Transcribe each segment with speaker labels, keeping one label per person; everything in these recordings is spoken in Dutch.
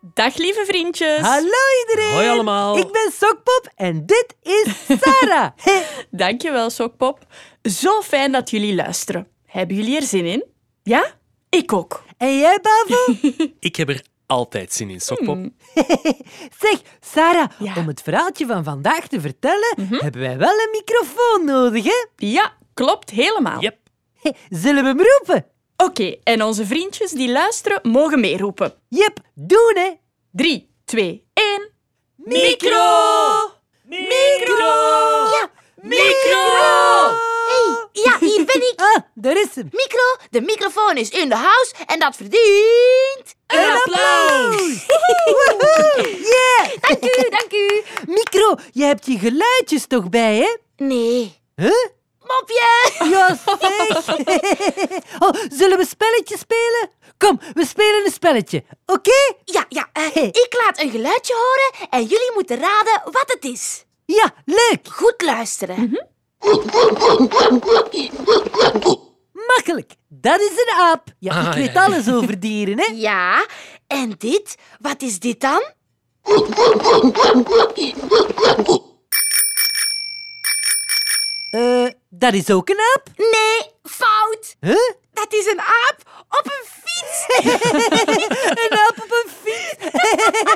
Speaker 1: Dag lieve vriendjes.
Speaker 2: Hallo iedereen!
Speaker 3: Hoi allemaal.
Speaker 2: Ik ben Sokpop en dit is Sarah. Hé,
Speaker 1: Dankjewel, Sokpop. Zo fijn dat jullie luisteren. Hebben jullie er zin in? Ja? Ik ook.
Speaker 2: en jij, Bavel?
Speaker 3: Ik heb er altijd zin in, Sokpop.
Speaker 2: Zeg, Sarah,
Speaker 1: Ja.
Speaker 2: om het verhaaltje van vandaag te vertellen,
Speaker 3: Mhm.
Speaker 2: hebben wij wel een microfoon nodig, hè?
Speaker 1: Ja, klopt helemaal.
Speaker 3: Yep.
Speaker 2: Hé, Zullen we hem roepen?
Speaker 1: Oké, en onze vriendjes die luisteren mogen meeroepen.
Speaker 2: Jep, doen, hè?
Speaker 1: 3, 2, 1.
Speaker 3: Micro!
Speaker 4: Ja,
Speaker 3: Micro!
Speaker 4: ja, hier ben ik.
Speaker 2: Ah, daar is hem.
Speaker 4: Micro, de microfoon is in de house en dat verdient...
Speaker 1: Een applaus!
Speaker 2: Yeah!
Speaker 4: Dank u, dank u.
Speaker 2: Micro, je hebt je geluidjes toch bij, hè?
Speaker 4: Nee.
Speaker 2: Huh?
Speaker 4: Mopje!
Speaker 2: Ja, zeg. oh, zullen we spelletjes spelen? Kom, we spelen een spelletje, oké?
Speaker 4: Ja, ja, eh, ik laat een geluidje horen en jullie moeten raden wat het is.
Speaker 2: Ja, leuk,
Speaker 4: Goed luisteren.
Speaker 2: makkelijk. Dat is een aap. Ja,
Speaker 3: Ah,
Speaker 2: ik weet
Speaker 3: ja.
Speaker 2: alles over dieren, hè?
Speaker 4: Ja, en dit? Wat is dit dan?
Speaker 2: Eh, dat is ook een aap.
Speaker 4: Nee, fout.
Speaker 2: Huh?
Speaker 4: Dat is een aap op een fiets.
Speaker 2: Een aap op een fiets.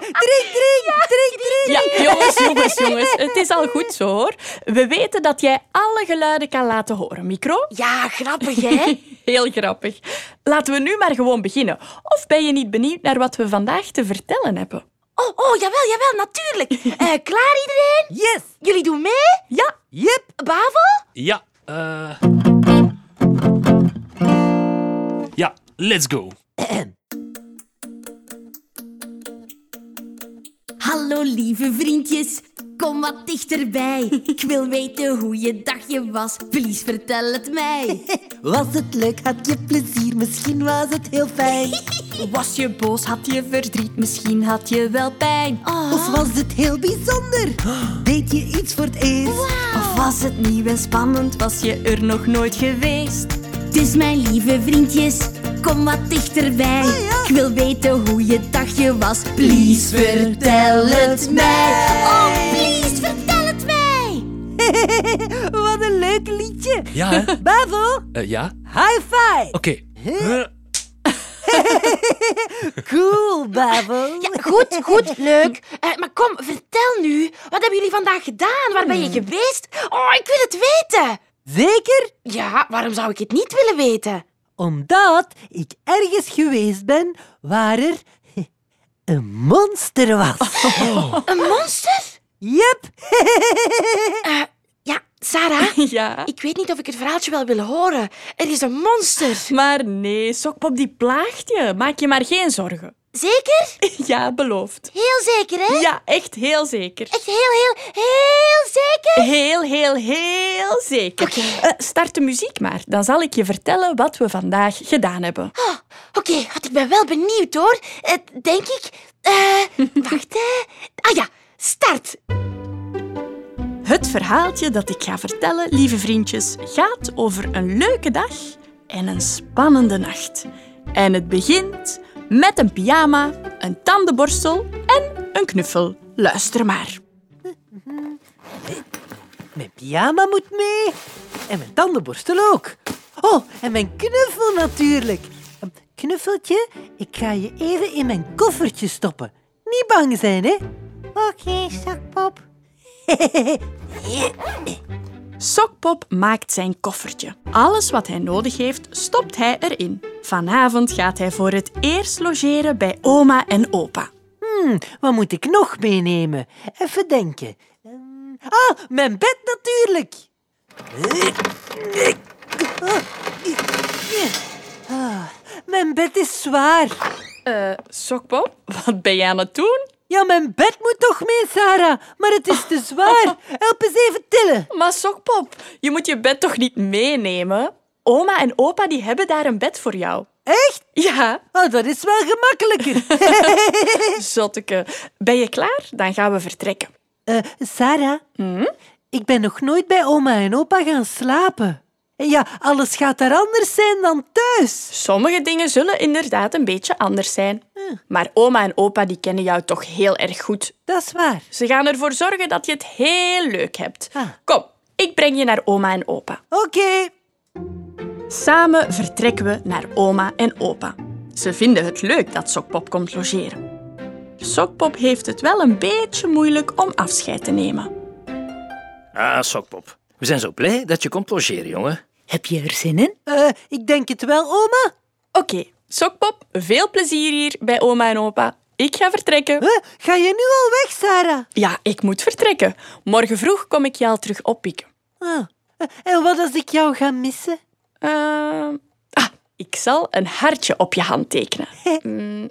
Speaker 2: drink, drink, drink, drink.
Speaker 1: Ja, jongens, jongens, jongens. Het is al goed zo, hoor. We weten dat jij alle geluiden kan laten horen, Micro.
Speaker 4: Ja, grappig, hè?
Speaker 1: Heel grappig. Laten we nu maar gewoon beginnen. Of ben je niet benieuwd naar wat we vandaag te vertellen hebben?
Speaker 4: Oh, oh, jawel, jawel, natuurlijk. Eh, klaar iedereen?
Speaker 2: Yes,
Speaker 4: Jullie doen mee?
Speaker 1: Ja,
Speaker 2: yep.
Speaker 4: Bavel?
Speaker 3: Ja, eh. Ja, let's go.
Speaker 5: Hallo lieve vriendjes, kom wat dichterbij. Ik wil weten hoe je dagje was, please vertel het mij.
Speaker 2: Was het leuk? Had je plezier? Misschien was het heel fijn.
Speaker 5: Was je boos, had je verdriet, misschien had je wel pijn. Oh,
Speaker 2: Of was het heel bijzonder? Deed je iets voor het eerst?
Speaker 5: of was het nieuw en spannend, was je er nog nooit geweest. Dus mijn lieve vriendjes, kom wat dichterbij.
Speaker 4: Ah,
Speaker 2: ja.
Speaker 5: Ik wil weten hoe je dagje was, please vertel het mij. Oh, please vertel het mij.
Speaker 2: Wat een leuk liedje.
Speaker 3: Ja, hè?
Speaker 2: Bravo,
Speaker 3: Eh, ja?
Speaker 2: high five.
Speaker 3: Oké. Eh,
Speaker 2: Cool, Bravo.
Speaker 4: Oh. Ja, goed, goed, leuk. Eh, maar kom, vertel nu. Wat hebben jullie vandaag gedaan? Waar ben je
Speaker 5: Hmm.
Speaker 4: geweest? Oh, ik wil het weten.
Speaker 2: Zeker?
Speaker 4: Ja, waarom zou ik het niet willen weten?
Speaker 2: Omdat ik ergens geweest ben waar er een monster was.
Speaker 5: Oh.
Speaker 4: Een monster?
Speaker 2: Yep.
Speaker 4: Eh, ja, Sarah.
Speaker 1: ja.
Speaker 4: Ik weet niet of ik het verhaaltje wel wil horen. Er is een monster.
Speaker 1: Maar nee, Sokpop die plaagt je. Maak je maar geen zorgen.
Speaker 4: Zeker?
Speaker 1: Ja, beloofd.
Speaker 4: Heel zeker, hè?
Speaker 1: Ja, echt heel zeker.
Speaker 4: Echt heel, heel, heel zeker?
Speaker 1: Heel, heel, heel zeker.
Speaker 4: Oké.
Speaker 1: Eh, start de muziek maar. Dan zal ik je vertellen wat we vandaag gedaan hebben.
Speaker 4: Oh, Oké, want ik ben wel benieuwd hoor. Eh, denk ik. Eh, wacht hè. Ah ja, start.
Speaker 1: Het verhaaltje dat ik ga vertellen, lieve vriendjes, gaat over een leuke dag en een spannende nacht. En het begint met een pyjama, een tandenborstel en een knuffel. Luister maar.
Speaker 2: Mijn pyjama moet mee. En mijn tandenborstel ook. Oh, en mijn knuffel natuurlijk. Ehm, Knuffeltje, ik ga je even in mijn koffertje stoppen. Niet bang zijn, hè? Oké, zakpop.
Speaker 1: Sokpop maakt zijn koffertje. Alles wat hij nodig heeft, stopt hij erin. Vanavond gaat hij voor het eerst logeren bij oma en opa.
Speaker 2: Wat moet ik nog meenemen? Even denken. Ehm, ah, mijn bed natuurlijk. Ah, mijn bed is zwaar.
Speaker 1: Eh, Sokpop, wat ben je aan het doen?
Speaker 2: Ja, mijn bed moet toch mee, Sarah. Maar het is te zwaar. Help eens even tillen.
Speaker 1: Maar Sokpop, je moet je bed toch niet meenemen? Oma en opa die hebben daar een bed voor jou.
Speaker 2: Echt?
Speaker 1: Ja,
Speaker 2: Oh, dat is wel gemakkelijker.
Speaker 1: zotteke. Ben je klaar? Dan gaan we vertrekken.
Speaker 2: Eh, Sarah, ik ben nog nooit bij oma en opa gaan slapen. En ja, alles gaat daar anders zijn dan thuis.
Speaker 1: Sommige dingen zullen inderdaad een beetje anders zijn.
Speaker 2: Ah.
Speaker 1: Maar oma en opa die kennen jou toch heel erg goed.
Speaker 2: Dat is waar.
Speaker 1: Ze gaan ervoor zorgen dat je het heel leuk hebt.
Speaker 2: Ah.
Speaker 1: Kom, ik breng je naar oma en opa.
Speaker 2: Oké.
Speaker 1: Samen vertrekken we naar oma en opa. Ze vinden het leuk dat Sokpop komt logeren. Sokpop heeft het wel een beetje moeilijk om afscheid te nemen.
Speaker 6: Ah, Sokpop. We zijn zo blij dat je komt logeren, jongen.
Speaker 7: Heb je er zin in?
Speaker 2: Eh, ik denk het wel, oma.
Speaker 1: Oké, Sokpop, veel plezier hier bij oma en opa. Ik ga vertrekken.
Speaker 2: Huh? Eh, Ga je nu al weg, Sarah?
Speaker 1: Ja, ik moet vertrekken. Morgen vroeg kom ik je al terug oppikken.
Speaker 2: Ah. Eh, En wat als ik jou ga missen?
Speaker 1: Ehm, ah, ik zal een hartje op je hand tekenen. Mm,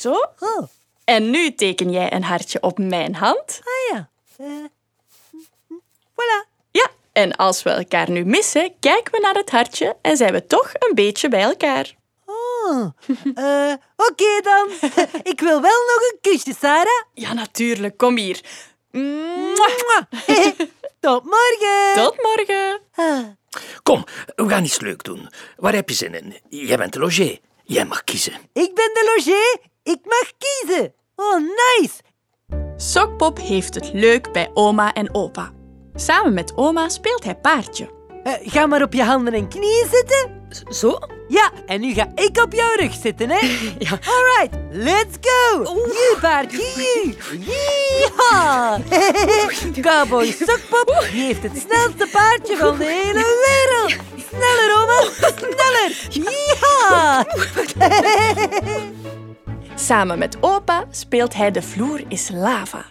Speaker 1: zo.
Speaker 2: Oh,
Speaker 1: En nu teken jij een hartje op mijn hand.
Speaker 2: ah ja. Eh, voilà.
Speaker 1: Ja, en als we elkaar nu missen, kijken we naar het hartje en zijn we toch een beetje bij elkaar.
Speaker 2: Oh. Eh, Oké dan. ik wil wel nog een kusje, Sarah.
Speaker 1: Ja, natuurlijk. Kom hier. Mwah.
Speaker 2: Mwah. Tot morgen.
Speaker 1: Tot morgen.
Speaker 2: Ah.
Speaker 6: Kom, we gaan iets leuk doen. Waar heb je zin in? Jij bent de logier. Jij mag kiezen.
Speaker 2: Ik ben de logier. Ik mag kiezen. Oh, nice.
Speaker 1: Sokpop heeft het leuk bij oma en opa. Samen met oma speelt hij paardje.
Speaker 2: Eh, ga maar op je handen en knieën zitten.
Speaker 7: Zo?
Speaker 2: Ja, en nu ga ik op jouw rug zitten, hè.
Speaker 7: Ja.
Speaker 2: Alright, let's go. You paard, you. Yeehaw. Cowboy Sokpop, die heeft het snelste paardje van de hele wereld. Sneller, oma. Sneller. Yeehaw.
Speaker 1: Samen met opa speelt hij De Vloer is Lava.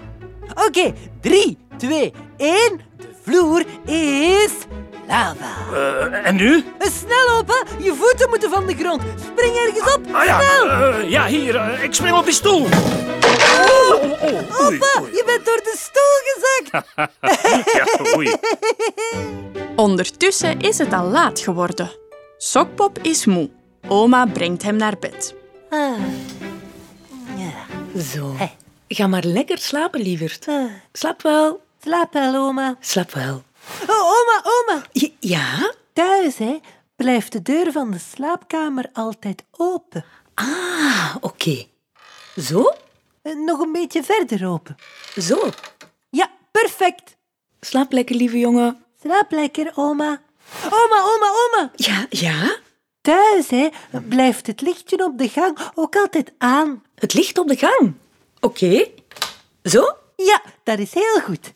Speaker 2: Oké, 3, 2, 1. De vloer is lava.
Speaker 6: Eh, en nu?
Speaker 2: Eh, Snel op, hè. Je voeten moeten van de grond. Spring ergens op.
Speaker 6: Ah ja,
Speaker 2: Snel.
Speaker 6: eh, ja hier. eh, ik spring op die stoel. Oh, oh, oei,
Speaker 2: Opa,
Speaker 6: oei.
Speaker 2: je bent door de stoel gezakt.
Speaker 6: Ja, oei.
Speaker 1: Ondertussen is het al laat geworden. Sokpop is moe. Oma brengt hem naar bed.
Speaker 2: Ah,
Speaker 7: Zo. Ga maar lekker slapen, lieverd. Slaap wel.
Speaker 2: Slaap wel, oma.
Speaker 7: Slaap wel.
Speaker 2: Oh, oma, oma.
Speaker 7: J- ja?
Speaker 2: Thuis, hè, blijft de deur van de slaapkamer altijd open.
Speaker 7: Ah, oké. Zo?
Speaker 2: Eh, Nog een beetje verder open.
Speaker 7: Zo.
Speaker 2: Ja, perfect.
Speaker 7: Slaap lekker, lieve jongen.
Speaker 2: Slaap lekker, oma. Oma, oma, oma.
Speaker 7: Ja, ja?
Speaker 2: Thuis, hè, blijft het lichtje op de gang ook altijd aan.
Speaker 7: Het licht op de gang. Oké. Zo?
Speaker 2: Ja, dat is heel goed.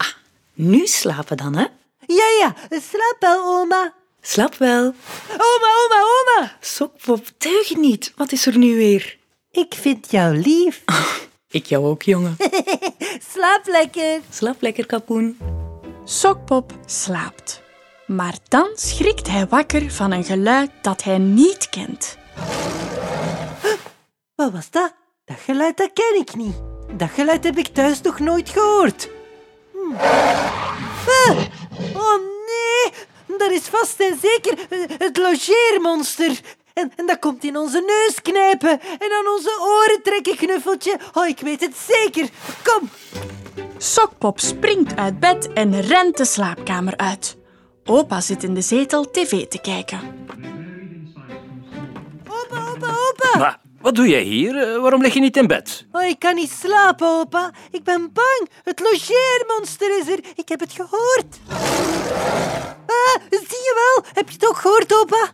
Speaker 7: Nu slapen dan, hè?
Speaker 2: Ja, ja, slaap wel, oma.
Speaker 7: Slaap wel.
Speaker 2: Oma, oma, oma.
Speaker 7: Sokpop, teug niet. Wat is er nu weer?
Speaker 2: Ik vind jou lief.
Speaker 7: Ik jou ook, jongen.
Speaker 2: Slaap lekker.
Speaker 7: Slaap lekker, kapoen.
Speaker 1: Sokpop slaapt. Maar dan schrikt hij wakker van een geluid dat hij niet kent.
Speaker 2: Wat was dat? Dat geluid dat ken ik niet. Dat geluid heb ik thuis nog nooit gehoord. Hm. Ah, oh nee, dat is vast en zeker eh, het logeermonster. En, en dat komt in onze neus knijpen en aan onze oren trekken, knuffeltje. Oh, ik weet het zeker. Kom.
Speaker 1: Sokpop springt uit bed en rent de slaapkamer uit. Opa zit in de zetel tv te kijken.
Speaker 2: Opa, opa, opa.
Speaker 6: Maar wat doe jij hier? Eh, waarom lig je niet in bed?
Speaker 2: Oh, ik kan niet slapen, opa. Ik ben bang. Het logeermonster is er. Ik heb het gehoord. Ah, zie je wel? Heb je het ook gehoord, opa?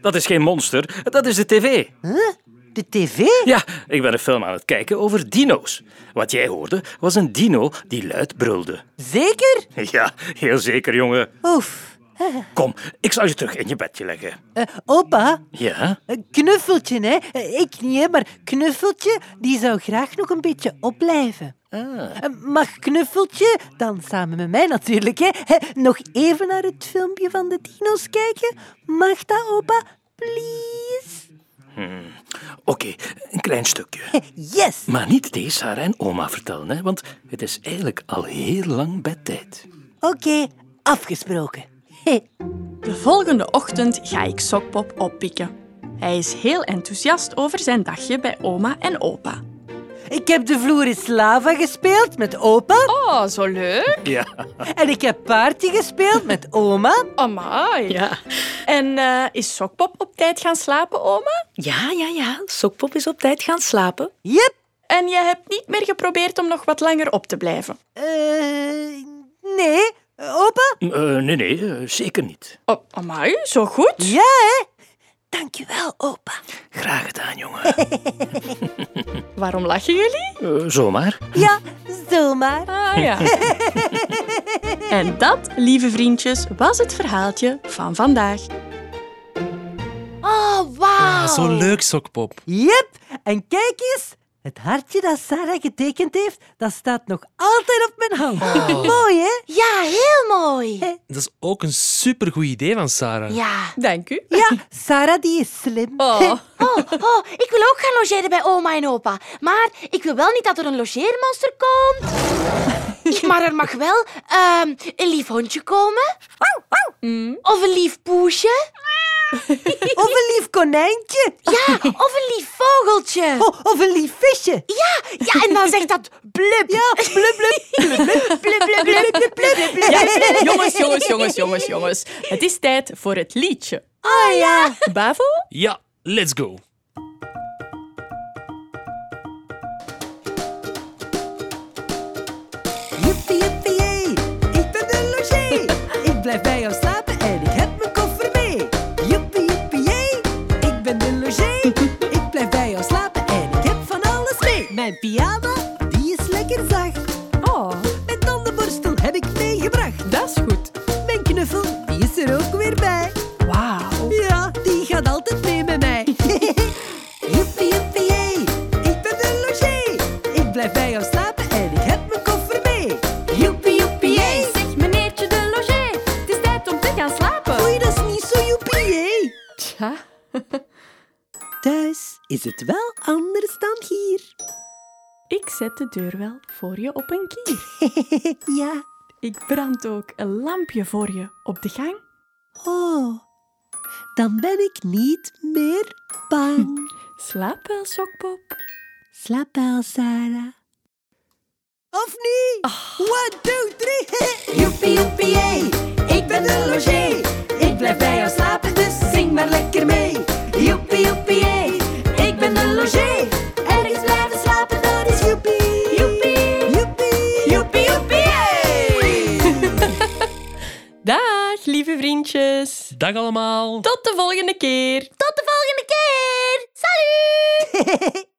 Speaker 6: Dat is geen monster, dat is de tv.
Speaker 2: Huh? De tv?
Speaker 6: Ja, ik ben een film aan het kijken over dino's. Wat jij hoorde was een dino die luid brulde.
Speaker 2: Zeker?
Speaker 6: Ja, heel zeker, jongen.
Speaker 2: Oef.
Speaker 6: Kom, ik zal je terug in je bedje leggen.
Speaker 2: Eh, opa,
Speaker 6: Ja?
Speaker 2: eh, knuffeltje, hè? Eh, ik niet, hè, maar knuffeltje, die zou graag nog een beetje opblijven. Eh, Mag knuffeltje, dan samen met mij natuurlijk, hè, hè, nog even naar het filmpje van de dino's kijken? Mag dat, opa? Please? Eh,
Speaker 6: Oké, een klein stukje.
Speaker 2: Yes!
Speaker 6: Maar niet deze Sarah en oma vertellen, hè, want het is eigenlijk al heel lang bedtijd.
Speaker 2: Oké, afgesproken. Hé,
Speaker 1: De volgende ochtend ga ik Sokpop oppikken. Hij is heel enthousiast over zijn dagje bij oma en opa.
Speaker 2: Ik heb de vloer is lava gespeeld met opa.
Speaker 1: Oh, zo leuk.
Speaker 6: Ja.
Speaker 2: En ik heb paardje gespeeld met oma.
Speaker 1: Amai.
Speaker 7: Ja.
Speaker 1: En eh, is Sokpop op tijd gaan slapen, oma?
Speaker 7: Ja, ja, ja. Sokpop is op tijd gaan slapen.
Speaker 2: Jep.
Speaker 1: En je hebt niet meer geprobeerd om nog wat langer op te blijven.
Speaker 2: Eh, nee. Opa?
Speaker 6: Eh, nee, nee, eh, zeker niet.
Speaker 1: Oh, amai, zo goed.
Speaker 2: Ja, hè? Dankjewel, opa.
Speaker 6: Graag gedaan, jongen.
Speaker 1: Waarom lachen jullie?
Speaker 6: Eh, zomaar.
Speaker 2: Ja, zomaar.
Speaker 1: Ah ja. en dat, lieve vriendjes, was het verhaaltje van vandaag.
Speaker 4: Oh,
Speaker 3: Ah,
Speaker 4: wauw.
Speaker 3: zo leuk, Sokpop.
Speaker 2: Jep. En kijk eens. Het hartje dat Sarah getekend heeft, dat staat nog altijd op mijn hand. Mooi, hè?
Speaker 4: Ja, heel mooi.
Speaker 3: Dat is ook een supergoed idee van Sarah.
Speaker 4: Ja.
Speaker 1: Dank u.
Speaker 2: Ja, Sarah die is slim.
Speaker 1: Oh.
Speaker 4: Oh, oh, ik wil ook gaan logeren bij oma en opa. Maar ik wil wel niet dat er een logeermonster komt. Maar er mag wel ehm, een lief hondje komen. Of een lief poesje.
Speaker 2: Of een lief konijntje.
Speaker 4: Ja, of een lief vogeltje.
Speaker 2: Oh, of een lief visje.
Speaker 4: Ja, en dan zegt dat blub.
Speaker 2: Ja, blub, blub,
Speaker 4: Blub, blub, blub.
Speaker 2: blub, blub, blub.
Speaker 1: Ja, jongens, jongens, jongens, jongens, jongens. Het is tijd voor het liedje.
Speaker 2: Oh ja.
Speaker 1: Bavo?
Speaker 3: Ja, let's go.
Speaker 2: Jippie, jippie, jee. Ik ben de logé. Ik blijf bij jou slapen en ik heb mijn koffer mee. Jippie, jippie, jee. Ik ben de logé. Ik blijf bij jou slapen en ik heb van alles mee. Mijn pyjama, die is lekker zacht.
Speaker 1: Oh,
Speaker 2: Mijn tandenborstel heb ik meegebracht.
Speaker 1: dat is goed.
Speaker 2: Mijn knuffel, die is er ook weer bij.
Speaker 1: Wauw.
Speaker 2: Ja, die gaat altijd mee met mij. Joepie, joepie, jee. Ik ben de logé. Ik blijf bij jou slapen en ik heb mijn koffer mee. Joepie, joepie, jee.
Speaker 5: zeg meneertje de loger, het is tijd om te gaan slapen.
Speaker 2: Oei, dat is niet zo joepie, jee.
Speaker 1: Tja.
Speaker 2: Thuis is het wel anders dan hier.
Speaker 1: Ik zet de deur wel voor je op een kier.
Speaker 2: ja.
Speaker 1: Ik brand ook een lampje voor je op de gang.
Speaker 2: Oh. Dan ben ik niet meer bang.
Speaker 1: Slaap wel, Sokpop.
Speaker 2: Slaap wel, Sarah. Of niet?
Speaker 1: Ah.
Speaker 2: One, two, three. Joepie, joepie, hey. Ik ben de logé. Ik blijf bij jou slapen, dus zing maar lekker mee. Joepie, joepie, hey. Ik ben de logé. Ergens blijven slapen, dat is joepie. Joepie. Joepie. Joepie, joepie, hey.
Speaker 1: Dag, lieve vriendjes.
Speaker 3: Dag allemaal.
Speaker 1: Tot de volgende keer.
Speaker 4: Tot de volgende keer. Salut.